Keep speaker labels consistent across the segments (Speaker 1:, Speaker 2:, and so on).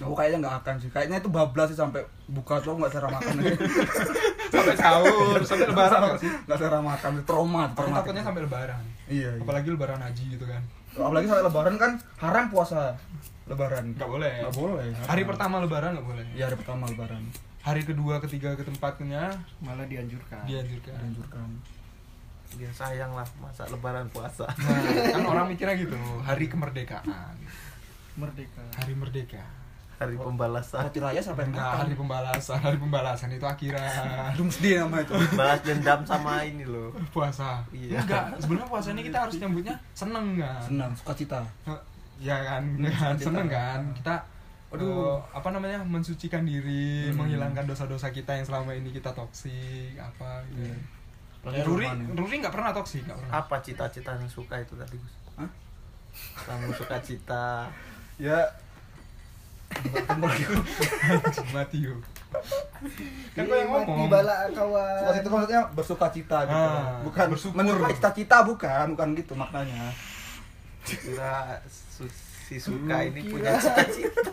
Speaker 1: Aku Oh, kayaknya nggak akan sih. Kayaknya itu bablas sih sampai buka tuh nggak cara makan.
Speaker 2: sampai sahur Oh, sampai lebaran nggak sih
Speaker 1: Nggak cara makan, trauma,
Speaker 2: Aku
Speaker 1: trauma.
Speaker 2: takutnya sampai lebaran
Speaker 1: Iya, iya.
Speaker 2: apalagi lebaran haji gitu kan
Speaker 1: Apalagi sampai lebaran kan haram puasa lebaran.
Speaker 2: nggak boleh
Speaker 1: Nggak boleh.
Speaker 2: hari pertama lebaran nggak boleh
Speaker 1: Iya, hari pertama lebaran
Speaker 2: hari kedua ketiga ke tempatnya
Speaker 3: malah dianjurkan
Speaker 2: Iya. dianjurkan
Speaker 1: dianjurkan.
Speaker 4: dia Ya, sayang lah masa lebaran puasa
Speaker 2: nah, kan orang mikirnya gitu hari kemerdekaan
Speaker 3: merdeka
Speaker 2: hari merdeka
Speaker 4: hari pembalasan
Speaker 1: Roti raya sampai
Speaker 2: Enggak, hari
Speaker 1: makan.
Speaker 2: pembalasan hari pembalasan itu akhirat
Speaker 1: Doomsday nama itu.
Speaker 2: Nah.
Speaker 4: balas dendam sama ini loh
Speaker 2: puasa
Speaker 4: Iya.
Speaker 2: enggak sebelum puasa ini kita harus nyambutnya seneng kan
Speaker 1: Senang, sukacita.
Speaker 2: ya kan, kan seneng kan kita aduh apa namanya mensucikan diri
Speaker 1: Hmm.
Speaker 2: menghilangkan dosa-dosa kita yang selama ini kita toksik apa gitu
Speaker 1: Iya.
Speaker 2: Eh, Ruri
Speaker 1: ya.
Speaker 2: Ruri nggak pernah toksik nggak pernah
Speaker 4: apa cita-cita yang suka itu tadi Gus
Speaker 1: Hah?
Speaker 4: kamu suka cita
Speaker 1: Ya.
Speaker 2: mati yuk kan gue yang ngomong
Speaker 3: bala kawan
Speaker 1: Sukacita maksudnya bersukacita gitu.
Speaker 2: Ah,
Speaker 1: bukan
Speaker 2: bersyukur.
Speaker 1: menerima cita-cita bukan, bukan gitu maknanya.
Speaker 4: kira su- si suka ini punya cita-cita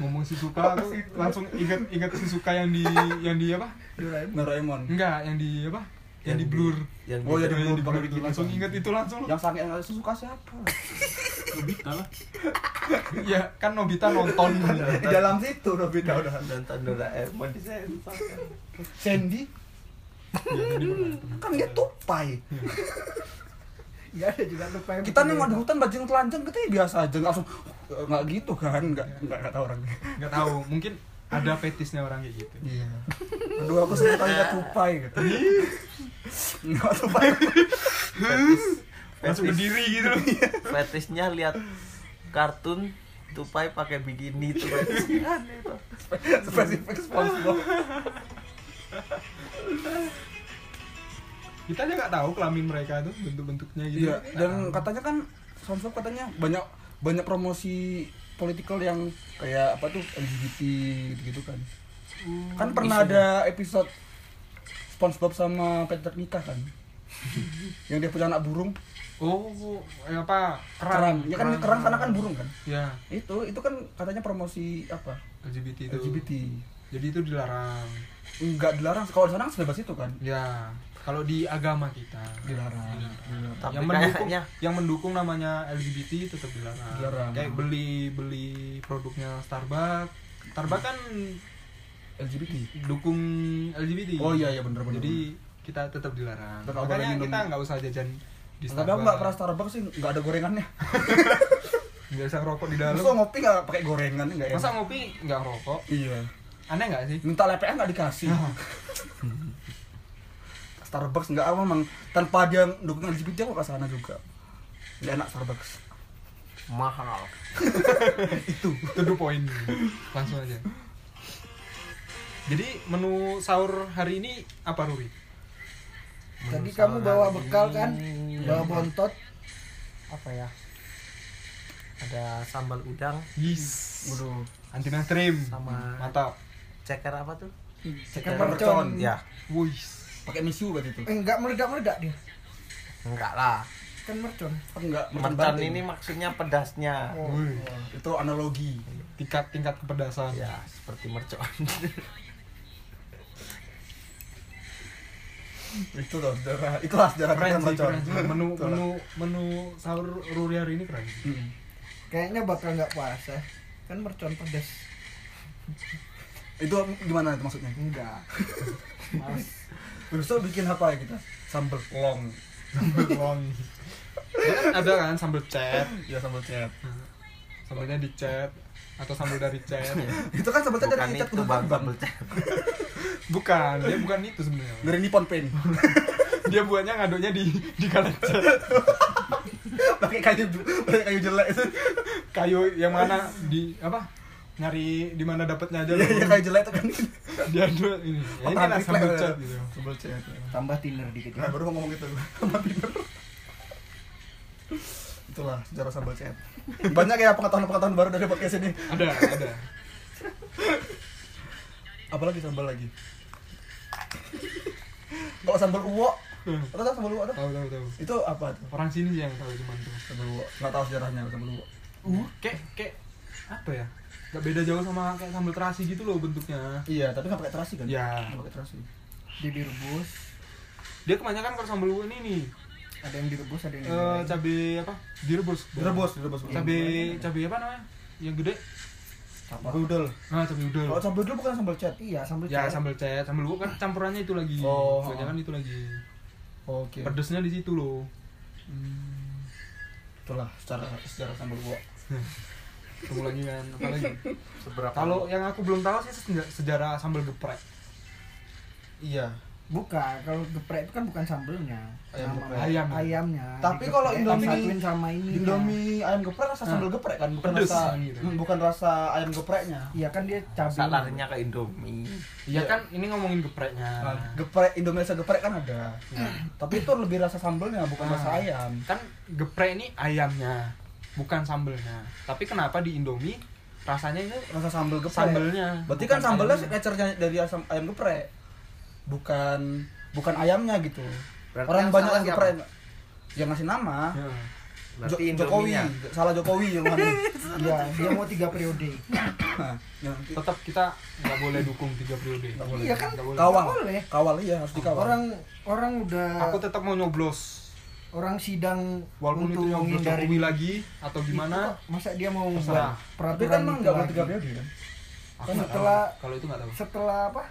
Speaker 2: ngomong si suka aku langsung inget inget si suka yang di yang di apa
Speaker 1: Doraemon.
Speaker 2: enggak yang di apa yang, di blur
Speaker 4: yang
Speaker 1: Oh, iya,
Speaker 4: di-
Speaker 1: di blur,
Speaker 2: blur
Speaker 1: pakai
Speaker 2: itu.
Speaker 1: bikini.
Speaker 2: langsung inget itu langsung
Speaker 1: Yang sange yang suka siapa?
Speaker 5: Nobita lah
Speaker 2: ya kan Nobita nonton
Speaker 1: Di dalam situ Nobita udah.
Speaker 4: nonton Doraemon di sensor
Speaker 3: Sandy
Speaker 2: Ya, jadi pernah.
Speaker 1: Kan dia tupai.
Speaker 3: nggak Iya, ada juga gitu. lupa yang
Speaker 1: Kita nih mau di hutan bajing telanjang kita ya biasa aja nggak langsung eh, nggak gitu kan nggak nggak nggak tahu orangnya
Speaker 2: nggak tahu mungkin ada fetisnya orang kayak gitu
Speaker 1: iya aduh aku sering kali nggak tupai gitu nggak tupai
Speaker 2: langsung berdiri gitu loh
Speaker 4: fetishnya lihat kartun tupai pakai bikini tuh fetish. Aneh, Pak.
Speaker 1: spesifik SpongeBob
Speaker 2: kita aja nggak tahu kelamin mereka tuh bentuk-bentuknya gitu
Speaker 1: Iya,
Speaker 2: Nggak
Speaker 1: dan
Speaker 2: tahu.
Speaker 1: katanya kan SpongeBob katanya banyak banyak promosi politikal yang kayak apa tuh LGBT gitu kan.
Speaker 2: Hmm.
Speaker 1: kan
Speaker 2: Iya.
Speaker 1: pernah ada episode SpongeBob sama Patrick nikah kan. yang dia punya anak burung,
Speaker 2: oh eh, apa
Speaker 1: kerang.
Speaker 2: kerang
Speaker 1: Ya kan kerang karena kan burung kan.
Speaker 2: ya
Speaker 1: Itu itu kan katanya promosi apa?
Speaker 2: LGBT itu
Speaker 1: LGBT.
Speaker 2: jadi itu dilarang
Speaker 1: Enggak dilarang kalau di sana kan sebebas itu kan.
Speaker 2: ya kalau di agama kita
Speaker 1: Dilarang.
Speaker 4: tapi
Speaker 2: yang mendukung
Speaker 4: kayaknya
Speaker 2: yang mendukung namanya LGBT tetap dilarang.
Speaker 1: Dilarang.
Speaker 2: Kayak beli beli produknya Starbucks. Starbucks kan
Speaker 1: LGBT.
Speaker 2: dukung LGBT.
Speaker 1: Oh iya iya bener bener.
Speaker 2: Jadi kita tetap dilarang.
Speaker 1: Tetap nggak boleh
Speaker 2: Makanya
Speaker 1: minum.
Speaker 2: kita nggak usah jajan di
Speaker 1: Tapi
Speaker 2: Starbucks.
Speaker 1: aku nggak pernah Starbucks sih, nggak ada gorengannya.
Speaker 2: Nggak usah ngerokok di dalam.
Speaker 1: Masa ngopi nggak pakai gorengan nggak ya?
Speaker 2: Masa ngopi nggak ngerokok?
Speaker 1: Iya.
Speaker 2: Aneh nggak sih?
Speaker 1: Minta LPA nggak dikasih. Starbucks nggak apa emang tanpa dia dukung LGBT aku ke sana juga. Gak enak Starbucks.
Speaker 4: mahal
Speaker 2: itu to the point langsung aja jadi menu sahur hari ini apa Ruri?
Speaker 3: tadi kamu bawa bekal kan
Speaker 4: Iya.
Speaker 3: bawa bontot apa ya
Speaker 4: ada sambal udang
Speaker 2: Yes.
Speaker 1: Waduh.
Speaker 2: Anti mainstream.
Speaker 4: Sama-
Speaker 2: Mantap.
Speaker 4: ceker apa tuh
Speaker 3: ceker
Speaker 1: mercon.
Speaker 3: mercon
Speaker 4: ya
Speaker 2: Wuis.
Speaker 1: Pakai misu berarti itu.
Speaker 3: Eh, nggak meledak meledak dia
Speaker 4: enggak lah
Speaker 3: kan mercon Oh.
Speaker 1: Apa nggak mercon
Speaker 4: mercon
Speaker 1: banting?
Speaker 4: ini maksudnya pedasnya
Speaker 2: Wuih.
Speaker 1: itu analogi.
Speaker 2: Tingkat tingkat kepedasan.
Speaker 4: ya seperti mercon
Speaker 1: Itu loh sejarah. Itulah sejarah
Speaker 2: Keren
Speaker 1: kita
Speaker 2: sih,
Speaker 1: mercon.
Speaker 2: keren sih. Menu
Speaker 1: Itulah.
Speaker 2: menu menu sahur Ruri hari ini keren.
Speaker 1: Mm.
Speaker 3: kayaknya bakal nggak puasa kan mercon pedas
Speaker 1: Itu gimana itu maksudnya?
Speaker 3: enggak Males.
Speaker 1: Besok bikin apa ya kita? Sambal long.
Speaker 2: Sambal long. ada kan sambal chat,
Speaker 1: Ya sambal cep.
Speaker 2: sambalnya di chat atau sambal dari chat.
Speaker 1: itu kan sambal cep
Speaker 4: bukan
Speaker 1: dari cep
Speaker 4: itu
Speaker 1: kudu
Speaker 4: bang
Speaker 1: bang.
Speaker 4: sambal cep
Speaker 2: Bukan, dia bukan itu sebenarnya.
Speaker 1: Dari Nippon Paint.
Speaker 2: Dia buatnya ngaduknya di di karet chat.
Speaker 1: pakai kayu pakai kayu jelek.
Speaker 2: Kayu yang mana di apa? Nyari di mana dapatnya aja.
Speaker 1: Iya iya, kayu jelek itu kan.
Speaker 2: Dia ada gitu. ini. Ya, ini lah
Speaker 1: Otak
Speaker 2: sambal
Speaker 1: refleks.
Speaker 2: chat gitu.
Speaker 1: Sambal cep.
Speaker 3: tambah tiner dikit ya.
Speaker 1: Nah, baru mau ngomong gitu. Sama Bieber. Itulah sejarah sambal cep. Banyak ya pengetahuan-pengetahuan baru dari podcast ini.
Speaker 2: Ada, ada.
Speaker 1: Apalagi sambal lagi. Kalau sambal uwok Atau tahu sambal luwak tuh?
Speaker 2: tahu tahu tahu
Speaker 1: Itu apa tuh?
Speaker 2: orang sini sih yang tahu cuman tuh
Speaker 1: Sambal luwak. Enggak tahu sejarahnya sambal luwak.
Speaker 2: Uh, kayak kayak apa ya nggak beda jauh sama kayak sambal terasi gitu loh bentuknya
Speaker 1: Iya, tapi nggak pakai terasi kan?
Speaker 2: Iya.
Speaker 1: Nggak pakai terasi.
Speaker 3: Dia direbus,
Speaker 2: dia kebanyakan kalau sambal ini nih
Speaker 3: ada yang direbus, ada yang
Speaker 2: eh
Speaker 3: digoreng.
Speaker 2: cabe apa direbus
Speaker 1: Direbus, direbus.
Speaker 2: cabe cabe apa namanya yang gede
Speaker 1: Sambal udel.
Speaker 2: ah cabe udel
Speaker 1: Kalau sambal udel bukan sambal cat.
Speaker 3: Iya, sambal
Speaker 2: ya
Speaker 3: cair.
Speaker 2: sambal cet sambal luwak kan campurannya itu lagi
Speaker 1: Oh.
Speaker 2: kebanyakan itu lagi
Speaker 1: Oke. Hmm.
Speaker 2: pedesnya di situ loh
Speaker 1: Itulah secara secara sambal luwak.
Speaker 2: ketemu lagi kan apa lagi
Speaker 4: Seberapa?
Speaker 2: kalau yang aku belum tahu sih seja- sejarah sambal geprek
Speaker 1: Iya.
Speaker 3: Bukan, kalau geprek itu kan bukan sambelnya.
Speaker 1: Ayam
Speaker 3: Sama
Speaker 1: geprek.
Speaker 2: Ayamnya.
Speaker 3: Ayamnya.
Speaker 1: Tapi kalau
Speaker 3: Digeprek,
Speaker 1: Indomie-
Speaker 3: disatuin sama ini. ya.
Speaker 1: Indomie ayam geprek rasa sambal geprek kan, bukan
Speaker 2: Pedes.
Speaker 1: rasa
Speaker 2: Gitu.
Speaker 1: hmm, bukan rasa ayam gepreknya.
Speaker 3: Iya kan dia cabai.
Speaker 4: Salahnya ke Indomie.
Speaker 1: Iya.
Speaker 2: iya kan ini ngomongin gepreknya
Speaker 1: Nah, geprek Indomie rasa geprek kan ada. Tapi itu lebih rasa sambalnya bukan
Speaker 2: Ah.
Speaker 1: rasa ayam.
Speaker 2: kan geprek ini ayamnya bukan sambelnya tapi kenapa di indomie rasanya itu
Speaker 1: Rasa sambal geprek.
Speaker 2: sambelnya
Speaker 1: Berarti
Speaker 2: bukan
Speaker 1: kan sambalnya
Speaker 2: ayamnya.
Speaker 1: signature-nya dari asam ayam geprek. Bukan bukan ayamnya gitu.
Speaker 4: Berarti
Speaker 1: Orang
Speaker 4: yang
Speaker 1: banyak
Speaker 4: salah
Speaker 1: yang
Speaker 4: siapa?
Speaker 1: geprek yang ngasih nama
Speaker 2: Ya.
Speaker 1: Jo-
Speaker 4: Berarti ya.
Speaker 1: Jokowi,
Speaker 4: Indominya.
Speaker 1: salah Jokowi yang mana?
Speaker 3: Iya, dia mau tiga periode.
Speaker 1: Nah, yang-
Speaker 2: tetap kita nggak boleh dukung tiga periode
Speaker 1: Nggak boleh.
Speaker 3: Iya kan?
Speaker 2: Nggak boleh.
Speaker 1: kawal.
Speaker 3: Nggak boleh.
Speaker 1: Kawal iya harus dikawal.
Speaker 3: Orang orang udah
Speaker 2: aku tetap mau nyoblos
Speaker 3: orang sidang
Speaker 2: walaupun itu
Speaker 3: untuk
Speaker 2: nyoblos
Speaker 3: menghindari
Speaker 2: Jokowi lagi atau gimana
Speaker 3: Itu kok, masa dia mau
Speaker 2: Terserah.
Speaker 3: buat
Speaker 1: tapi kan
Speaker 3: peraturan
Speaker 1: emang
Speaker 3: itu
Speaker 1: enggak boleh
Speaker 3: lagi?
Speaker 1: tiga periode kan?
Speaker 2: aku
Speaker 3: Kan
Speaker 2: nggak
Speaker 3: setelah-
Speaker 2: tahu kalau itu nggak tahu
Speaker 3: setelah apa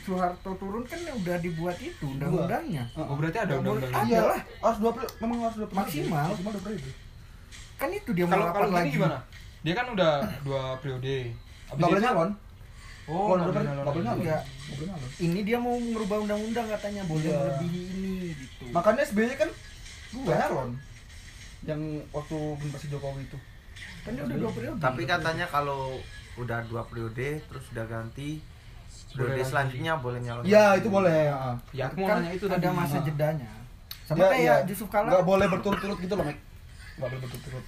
Speaker 3: Soeharto turun kan udah dibuat itu undang-undangnya
Speaker 2: oh, berarti ada
Speaker 3: Nggak boleh.
Speaker 2: undang-undang
Speaker 3: Ah,
Speaker 1: Iya
Speaker 3: Iya
Speaker 1: lah,
Speaker 3: lah.
Speaker 1: harus 20 memang harus 20
Speaker 3: Maksimal.
Speaker 1: Maksimal 20 periode.
Speaker 3: kan itu dia mau
Speaker 2: kalau kalau
Speaker 3: rapat
Speaker 2: gini
Speaker 3: lagi
Speaker 2: gimana dia kan udah dua periode Habis
Speaker 1: Enggak boleh
Speaker 2: itu-
Speaker 1: nyalon.
Speaker 2: oh
Speaker 1: Kalau dua
Speaker 2: nggak boleh
Speaker 1: periode,
Speaker 2: nyalon
Speaker 1: nggak boleh
Speaker 2: lagi.
Speaker 1: nyalon. ya.
Speaker 3: Iya.
Speaker 1: Nggak boleh nyalon.
Speaker 3: ini dia mau merubah undang-undang katanya boleh
Speaker 1: Iya.
Speaker 3: melebihi ini gitu
Speaker 1: Makanya SBY kan dua
Speaker 3: Dua.
Speaker 1: nyalon. Yang waktu generasi Jokowi itu.
Speaker 3: kan dia udah dua periode
Speaker 4: Tapi katanya kalau udah dua periode terus udah ganti
Speaker 2: Boleh
Speaker 4: periode
Speaker 2: lagi.
Speaker 4: selanjutnya boleh nyalon.
Speaker 1: Ya,
Speaker 4: lagi.
Speaker 1: itu boleh. heeh.
Speaker 2: ya aku mau
Speaker 3: kan
Speaker 2: nanya itu
Speaker 3: ada
Speaker 2: tadi Ah.
Speaker 3: masa
Speaker 1: Nah.
Speaker 3: jedanya sama
Speaker 1: Dia-
Speaker 3: kayak
Speaker 1: iya.
Speaker 3: Yusuf Kala
Speaker 1: Nggak boleh berturut-turut gitu loh, Mek. Nggak boleh berturut-turut.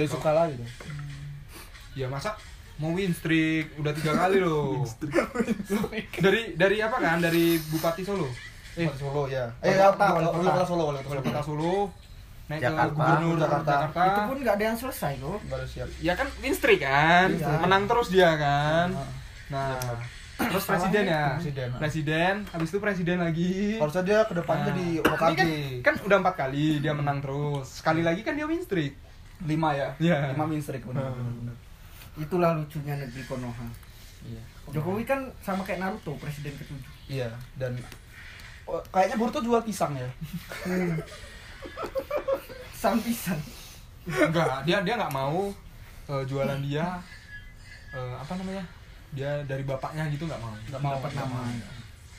Speaker 1: Yusuf Kala gitu.
Speaker 2: ya masa mau win streak udah tiga kali loh dari dari apa kan dari Bupati Solo eh
Speaker 1: Wali Solo ya. Eh,
Speaker 3: Wali
Speaker 1: ya,
Speaker 3: kota,
Speaker 1: wali
Speaker 3: wali
Speaker 1: wali
Speaker 3: kota.
Speaker 1: kota Solo, wali
Speaker 2: Wali
Speaker 1: kota
Speaker 2: Kota
Speaker 1: Solo.
Speaker 2: Solo naik
Speaker 4: Jakarta.
Speaker 2: ke gubernur
Speaker 1: Jakarta.
Speaker 2: Jakarta,
Speaker 3: itu pun nggak ada yang selesai loh
Speaker 1: Nggak ada siap.
Speaker 2: ya kan win streak kan
Speaker 3: Iya.
Speaker 2: menang terus dia kan
Speaker 1: Nah,
Speaker 2: nah terus presiden ya
Speaker 1: Presiden.
Speaker 2: presiden habis itu presiden lagi
Speaker 1: Harusnya dia ke depannya
Speaker 2: Nah.
Speaker 1: di
Speaker 2: Ini
Speaker 1: OKG.
Speaker 2: kan, kan udah empat kali dia menang terus sekali lagi kan dia win streak
Speaker 1: 5 ya.
Speaker 2: Iya.
Speaker 1: 5 min streak benar benar, benar.
Speaker 3: itulah lucunya negeri Konoha
Speaker 1: Iya.
Speaker 2: Oh.
Speaker 3: Jokowi kan sama kayak Naruto presiden ketujuh
Speaker 1: Iya, dan Oh, kayaknya Boruto jual pisang ya.
Speaker 3: sampisan
Speaker 2: enggak dia dia nggak mau eh, jualan dia eh, apa namanya dia dari bapaknya gitu nggak mau
Speaker 1: Enggak mau
Speaker 3: Dapat nama.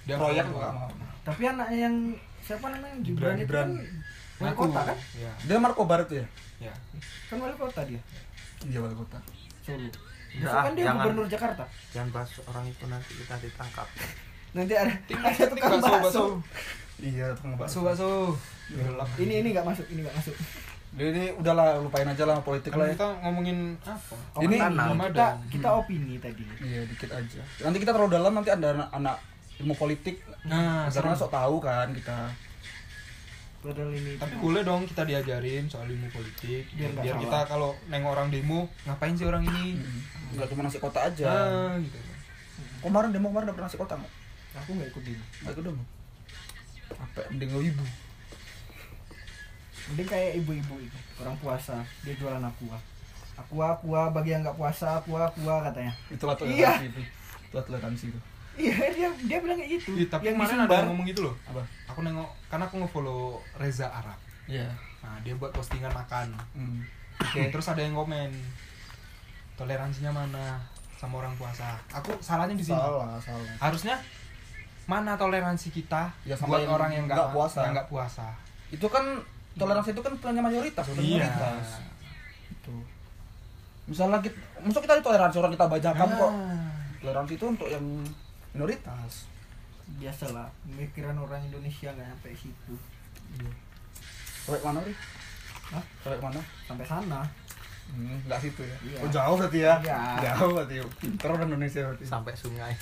Speaker 2: dia
Speaker 1: Proyek
Speaker 2: nggak
Speaker 1: juga nggak mau.
Speaker 3: tapi anaknya yang siapa namanya
Speaker 2: Gibran,
Speaker 3: Gibran itu
Speaker 2: Gibran.
Speaker 3: kan wali
Speaker 2: ngaku
Speaker 3: kota kan
Speaker 2: ya
Speaker 1: Dia Marco Barat ya?
Speaker 2: ya
Speaker 3: kan wali kota dia
Speaker 1: Iya, wali kota.
Speaker 3: Solo
Speaker 4: Ya,
Speaker 3: Besok kan dia
Speaker 4: jangan.
Speaker 3: gubernur Jakarta
Speaker 4: Jangan bahas orang itu nanti kita ditangkap.
Speaker 3: nanti ada
Speaker 2: Tim
Speaker 3: ada tukang
Speaker 2: bakso, bakso.
Speaker 3: bakso
Speaker 1: Iya, tukang
Speaker 2: bakso
Speaker 1: bakso.
Speaker 2: bakso gelap
Speaker 3: ini ini nggak masuk ini nggak masuk
Speaker 1: Jadi ini udahlah lupain aja lah politik
Speaker 2: kan
Speaker 1: lah. ya.
Speaker 2: kita ngomongin apa
Speaker 1: Ini-
Speaker 4: tanam.
Speaker 3: kita
Speaker 2: Ramadan
Speaker 3: kita opini tadi
Speaker 1: Iya, dikit aja. Nanti kita terlalu dalam nanti ada anak-anak ilmu politik
Speaker 2: nah
Speaker 1: karena
Speaker 2: serem
Speaker 1: sok tahu kan kita.
Speaker 3: padahal ini
Speaker 2: tapi boleh dong kita diajarin soal ilmu politik biar,
Speaker 3: Biar nggak salah.
Speaker 2: kita kalau nengok orang demo ngapain sih orang
Speaker 1: Hmm.
Speaker 2: ini
Speaker 1: Enggak cuma nasi kota
Speaker 3: Iya.
Speaker 1: aja.
Speaker 2: nah, gitu
Speaker 1: Kemarin demo kemarin dapet nasi kota nggak?
Speaker 3: aku nggak ikut demo
Speaker 1: Nggak dong. Apa mending ibu?
Speaker 3: mending kayak ibu-ibu itu orang puasa dia jualan aqua aqua aqua bagi yang nggak puasa aqua aqua katanya
Speaker 1: Itulah
Speaker 3: Iya.
Speaker 1: toleransi itu. Itulah toleransi itu.
Speaker 3: iya dia dia bilang kayak gitu
Speaker 2: Ih, Iya, tapi
Speaker 3: yang
Speaker 2: kemarin ada
Speaker 3: disebar
Speaker 2: yang ngomong gitu loh
Speaker 1: Apa?
Speaker 2: aku nengok karena aku ngefollow Reza Arab
Speaker 1: Iya.
Speaker 2: nah dia buat postingan makan
Speaker 1: Hmm.
Speaker 2: Oke, terus ada yang komen toleransinya mana sama orang puasa. Aku salahnya di sini.
Speaker 1: Salah, salah.
Speaker 2: Harusnya mana toleransi kita
Speaker 1: Ya, sama
Speaker 2: buat
Speaker 1: yang
Speaker 2: orang yang
Speaker 1: nggak
Speaker 2: nggak
Speaker 1: puasa.
Speaker 2: yang nggak puasa. Iya.
Speaker 1: Itu kan toleransi itu kan punya mayoritas, bukan minoritas.
Speaker 2: Ah.
Speaker 1: Gitu. Misalnya kita, maksud kita toleransi orang kita bajakan
Speaker 2: Ah.
Speaker 1: kok. Toleransi itu untuk yang minoritas.
Speaker 3: biasalah pemikiran orang Indonesia nggak sampai situ
Speaker 1: Iya. Sampai mana, Ri?
Speaker 3: Hah?
Speaker 1: Sampai mana?
Speaker 3: sampai sana
Speaker 1: Hmm, enggak situ ya.
Speaker 3: Iya.
Speaker 1: Oh, jauh berarti ya.
Speaker 3: Iya.
Speaker 1: Jauh berarti. Pinter orang Indonesia berarti.
Speaker 4: sampai sungai.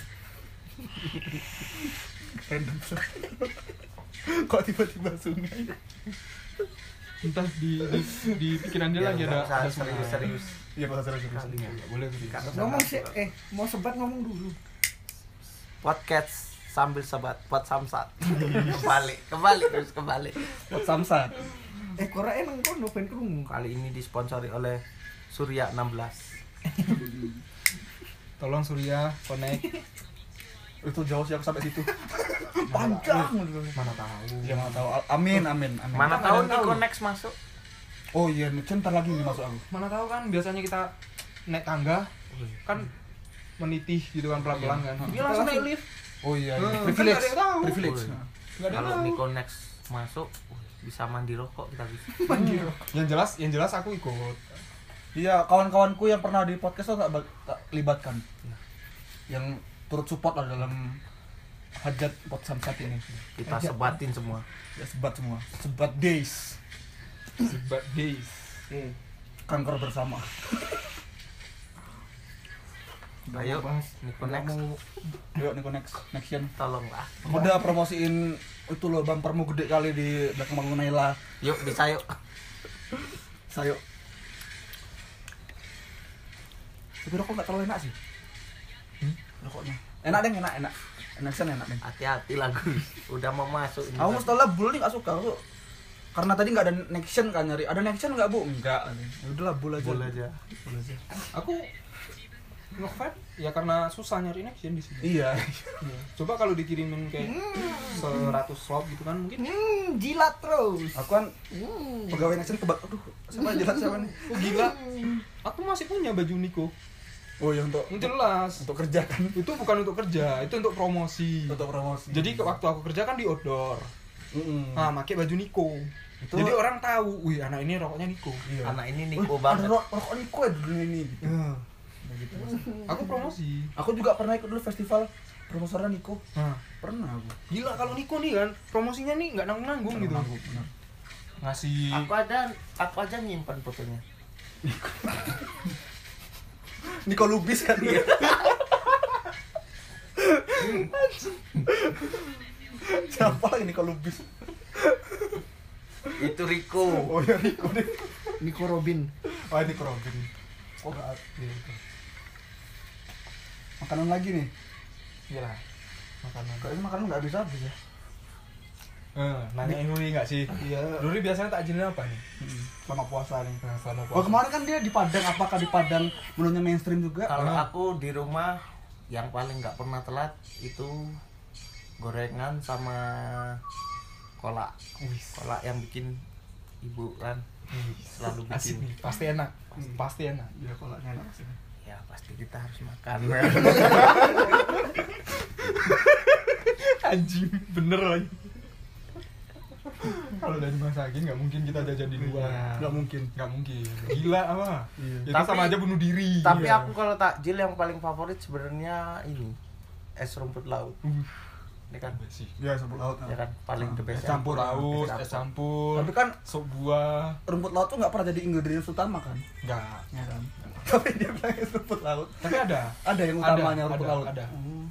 Speaker 1: Random. Kok tiba-tiba sungai?
Speaker 2: entah di di, di pikiran dia
Speaker 4: Ya,
Speaker 2: lagi
Speaker 4: nggak
Speaker 2: ada
Speaker 4: usah
Speaker 2: ada
Speaker 4: serius
Speaker 2: sungai.
Speaker 4: serius
Speaker 1: Iya, bahasa serius.
Speaker 4: kali ya.
Speaker 2: Nggak boleh serius.
Speaker 4: Nggak usah.
Speaker 3: Ngomong sih, eh mau sebat ngomong dulu.
Speaker 4: podcast sambil sebat buat samsat kembali kembali terus kembali
Speaker 1: Buat samsat.
Speaker 3: Eh kora emang kono ben krungu.
Speaker 4: kali ini disponsori oleh Surya 16
Speaker 2: tolong Surya connect
Speaker 1: Itu jauh sih aku sampai situ. Panjang.
Speaker 2: mana tahu
Speaker 1: Ya mana tahu. Amin, amin, amin.
Speaker 2: Mana
Speaker 4: mana tahu
Speaker 2: tahu.
Speaker 4: Niko next masuk
Speaker 1: Oh iya, nih, ntar lagi nih masuk aku.
Speaker 2: mana tahu kan biasanya kita naik
Speaker 1: Oh,
Speaker 2: tangga
Speaker 1: iya.
Speaker 2: kan menitih gitu kan pelan-pelan kan dia langsung naik lift
Speaker 1: Oh iya, iya.
Speaker 2: Hmm,
Speaker 1: privilege.
Speaker 2: kan nggak ada yang tahu.
Speaker 1: Privilege.
Speaker 4: Oh, iya.
Speaker 2: Nggak ada yang
Speaker 4: kalau
Speaker 2: tahu.
Speaker 4: Niko next masuk wih, bisa mandi rokok kita bisa
Speaker 2: yang jelas yang jelas aku ikut
Speaker 1: Iya, kawan-kawanku yang pernah di podcast tuh tak, ba- tak libatkan. Yang turut support lah dalam hajat pot samsat ini.
Speaker 4: kita sebatin semua
Speaker 1: Ya sebat semua. Sebat days.
Speaker 2: sebat days
Speaker 3: Eh,
Speaker 1: Kanker bersama.
Speaker 3: nggak
Speaker 4: Ayo.
Speaker 3: mau bahas.
Speaker 4: Niko
Speaker 3: Nggak
Speaker 4: next
Speaker 3: mau
Speaker 1: Yuk Niko next, nextion.
Speaker 4: tolonglah
Speaker 1: Udah promosiin itu loh bumpermu gede kali di belakang bangun Naila.
Speaker 4: yuk bisa yuk
Speaker 1: Sayo. Tapi rokok nggak terlalu enak sih. Rokoknya. Enak deh, enak, enak. Enak sih, enak deh.
Speaker 4: hati-hati lah Gus udah mau masuk ini
Speaker 1: Aku setelah bull nih gak suka aku karena tadi nggak ada action kan nyari ada action nggak bu nggak udahlah bull aja
Speaker 4: Bull aja.
Speaker 1: Bull aja.
Speaker 2: aku ngevape ya karena susah nyari action di sini
Speaker 1: iya
Speaker 2: Iya. coba kalau dikirimin kayak 100 slot gitu kan mungkin
Speaker 3: Hmm, jilat terus.
Speaker 1: aku kan pegawai action kebak aduh siapa jelas siapa nih
Speaker 2: oh gila aku masih punya baju Niko
Speaker 1: oh ya untuk
Speaker 2: Yang jelas
Speaker 1: untuk kerja kan
Speaker 2: itu bukan untuk kerja itu untuk promosi
Speaker 1: untuk promosi
Speaker 2: jadi ke- waktu aku kerja kan di outdoor
Speaker 1: Mm-mm.
Speaker 2: nah pakai baju Niko
Speaker 1: Itu-
Speaker 2: jadi orang tahu wih anak ini rokoknya Niko
Speaker 1: iya.
Speaker 4: anak ini
Speaker 1: Wih,
Speaker 4: Niko
Speaker 1: ada
Speaker 4: banget
Speaker 1: ro- rokok Niko ya di dunia ini gitu.
Speaker 2: Iya.
Speaker 1: Nah, gitu.
Speaker 2: aku promosi
Speaker 1: aku juga pernah ikut dulu festival promosornya Niko
Speaker 2: nah
Speaker 1: pernah aku
Speaker 2: gila kalau Niko nih kan promosinya nih nggak nanggung nanggung gitu
Speaker 1: Pernah aku, pernah.
Speaker 2: ngasih
Speaker 4: aku ada aku aja nyimpan fotonya
Speaker 1: Niko Lubis kan dia siapa lagi Niko Lubis
Speaker 4: itu Riko
Speaker 1: oh ya Niko deh
Speaker 3: Niko Robin.
Speaker 1: Oh ini kerobin. Oh nggak ada. Iya, betul. Makanan lagi nih.
Speaker 2: gila Iya makanan
Speaker 1: Kayaknya makanan nggak habis habis ya.
Speaker 2: eh, nanya Nuri nggak sih
Speaker 3: Iya.
Speaker 2: Nuri biasanya takjilnya apa nih
Speaker 1: Selama puasa nih.
Speaker 2: Nah,
Speaker 1: Wah
Speaker 2: selama puasa
Speaker 1: kemarin kan dia di Padang, apakah di Padang menunya mainstream juga?
Speaker 4: kalau
Speaker 2: Pernah.
Speaker 4: aku di rumah yang paling nggak pernah telat itu gorengan sama kolak
Speaker 2: Wih,
Speaker 4: kolak yang bikin ibu kan selalu
Speaker 2: asik
Speaker 4: bikin
Speaker 2: nih pasti enak pasti enak
Speaker 1: Ya kalau enak sih.
Speaker 4: ya pasti kita harus makan
Speaker 2: Iya. anjing bener lagi kalau udah dimasakin nggak mungkin kita jajan di luar
Speaker 1: Nggak mungkin.
Speaker 2: nggak mungkin gila apa
Speaker 1: Iya.
Speaker 2: itu
Speaker 4: Tapi-
Speaker 2: sama aja bunuh diri
Speaker 4: tapi
Speaker 2: Iya.
Speaker 4: aku kalau takjil yang paling favorit sebenarnya ini es rumput laut
Speaker 2: Uh,
Speaker 4: ini kan
Speaker 2: sih
Speaker 1: Ya sebut laut.
Speaker 4: ya kan paling the best
Speaker 1: Es campur
Speaker 2: laut es
Speaker 4: Es
Speaker 2: campur
Speaker 1: Tapi kan
Speaker 2: sop buah
Speaker 1: rumput laut tuh nggak pernah jadi ingredient utama kan?
Speaker 2: nggak
Speaker 1: Ya kan. Tapi dia bilang es rumput laut.
Speaker 2: tapi ada
Speaker 1: Ada yang
Speaker 2: Ada,
Speaker 1: utamanya rumput
Speaker 2: ada,
Speaker 1: laut.
Speaker 2: ada.
Speaker 1: Hmm.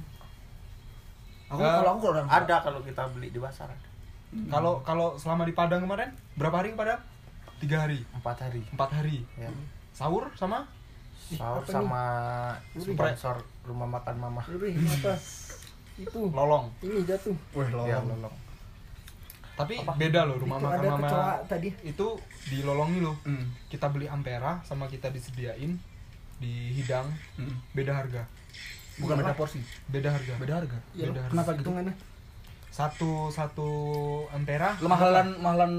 Speaker 1: Aku
Speaker 2: Eh,
Speaker 1: kalau aku kurang.
Speaker 4: ada kalau kita beli di pasar
Speaker 2: kalau kalau selama di Padang kemarin berapa hari ke Padang tiga hari
Speaker 4: empat hari
Speaker 2: empat hari
Speaker 4: ya
Speaker 2: sahur sama
Speaker 4: sahur sama sponsor rumah makan mama
Speaker 3: Lebih apa? Itu
Speaker 2: lolong
Speaker 3: ini jatuh.
Speaker 1: Wah
Speaker 4: ya
Speaker 1: laut.
Speaker 4: lolong
Speaker 2: tapi beda loh rumah
Speaker 3: Itu
Speaker 2: makan
Speaker 3: ada
Speaker 2: mama
Speaker 3: kecoa tadi.
Speaker 2: itu di lolong nih loh
Speaker 1: Hmm.
Speaker 2: kita beli ampera sama kita disediain di hidang
Speaker 1: Hmm.
Speaker 2: beda harga
Speaker 1: Bukan beda porsi,
Speaker 2: beda harga
Speaker 1: beda harga.
Speaker 2: Beda harga.
Speaker 1: Kenapa gitu?
Speaker 3: Hitungannya.
Speaker 2: satu satu ampera
Speaker 1: Mahalan mahalan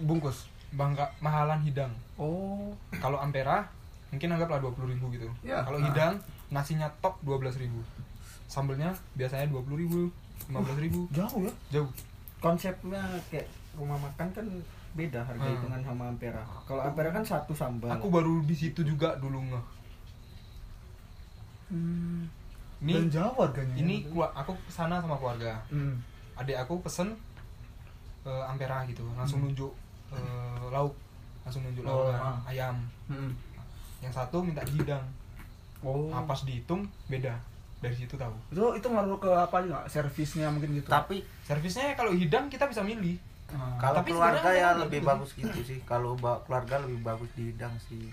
Speaker 1: bungkus.
Speaker 2: bangga mahalan hidang
Speaker 1: Oh.
Speaker 2: kalau ampera mungkin anggaplah dua puluh ribu gitu
Speaker 1: Ya.
Speaker 2: kalau hidang nasinya top dua belas ribu sambelnya biasanya dua puluh ribu lima belas ribu
Speaker 1: Jauh ya.
Speaker 2: jauh
Speaker 3: Konsepnya kayak rumah makan kan beda harga
Speaker 2: Hmm.
Speaker 3: hitungan sama Ampera. Kalau Ampera kan satu sambal.
Speaker 2: aku baru di situ juga dulu ngeh
Speaker 1: Hmm.
Speaker 2: ini
Speaker 1: Dan jauh harganya.
Speaker 2: ini kelu- aku kesana sama keluarga
Speaker 1: Hmm.
Speaker 2: adik aku pesen eh, ampera gitu langsung nunjuk eh, lauk langsung nunjuk
Speaker 1: Hmm. Oh,
Speaker 2: lauk kan,
Speaker 1: ah.
Speaker 2: ayam yang satu minta hidang
Speaker 1: Oh.
Speaker 2: Nah, pas dihitung beda dari situ tahu
Speaker 1: itu itu ngaruh ke apa juga servisnya mungkin gitu
Speaker 4: tapi
Speaker 2: servisnya kalau hidang kita bisa milih
Speaker 1: Ah.
Speaker 4: kalau
Speaker 2: Tapi
Speaker 4: keluarga
Speaker 2: sebenarnya
Speaker 4: ya
Speaker 2: kan
Speaker 4: lebih
Speaker 2: gitu.
Speaker 4: bagus gitu sih kalau ba- keluarga lebih bagus di hidang sih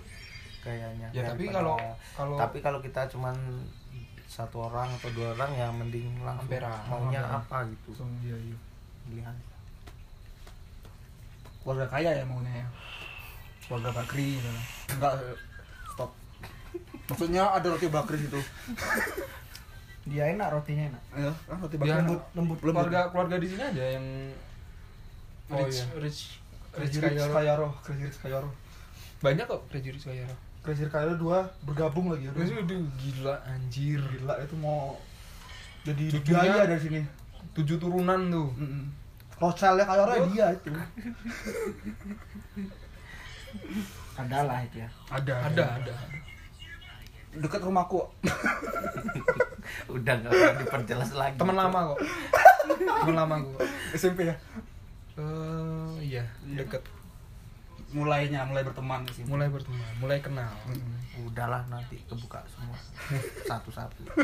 Speaker 4: kayaknya
Speaker 2: ya tapi
Speaker 4: daripada-
Speaker 2: kalau kalau
Speaker 4: tapi kalau kita cuman satu orang atau dua orang ya mending langsung
Speaker 2: Ampera.
Speaker 4: maunya
Speaker 2: Ampera.
Speaker 4: apa gitu
Speaker 1: Langsung, iya, iya.
Speaker 4: pilihan
Speaker 1: keluarga kaya ya maunya ya keluarga bakri gitu enggak stop maksudnya ada roti bakri gitu
Speaker 3: Dia enak rotinya enak.
Speaker 1: ya kan roti bakri
Speaker 2: Biar
Speaker 1: lembut
Speaker 3: Lembut.
Speaker 1: Lembut.
Speaker 2: keluarga keluarga di sini aja yang
Speaker 1: Oh,
Speaker 2: rich
Speaker 1: iya.
Speaker 2: rich rich
Speaker 6: Crazy Rich
Speaker 2: kaya
Speaker 6: Kayaro, Crazy Rich Kayaro.
Speaker 2: banyak kok rich rich kaya
Speaker 6: Crazy Rich Kayaro dua bergabung lagi. Aduh,
Speaker 2: Terus aduh gila anjir
Speaker 6: gila itu mau jadi
Speaker 2: Cucunya-
Speaker 6: gaya dari sini.
Speaker 2: tujuh turunan tuh
Speaker 1: Mm-mm.
Speaker 6: Rochelle Kayaro ya dia itu.
Speaker 3: Adalah itu ya.
Speaker 1: ada
Speaker 2: ada ada
Speaker 1: dekat rumahku
Speaker 4: udah nggak perlu diperjelas lagi
Speaker 2: teman lama kok teman lama gue
Speaker 1: SMP ya
Speaker 2: eh iya deket
Speaker 1: mulainya mulai berteman sih
Speaker 2: mulai berteman mulai kenal
Speaker 4: udahlah nanti kebuka semua satu-satu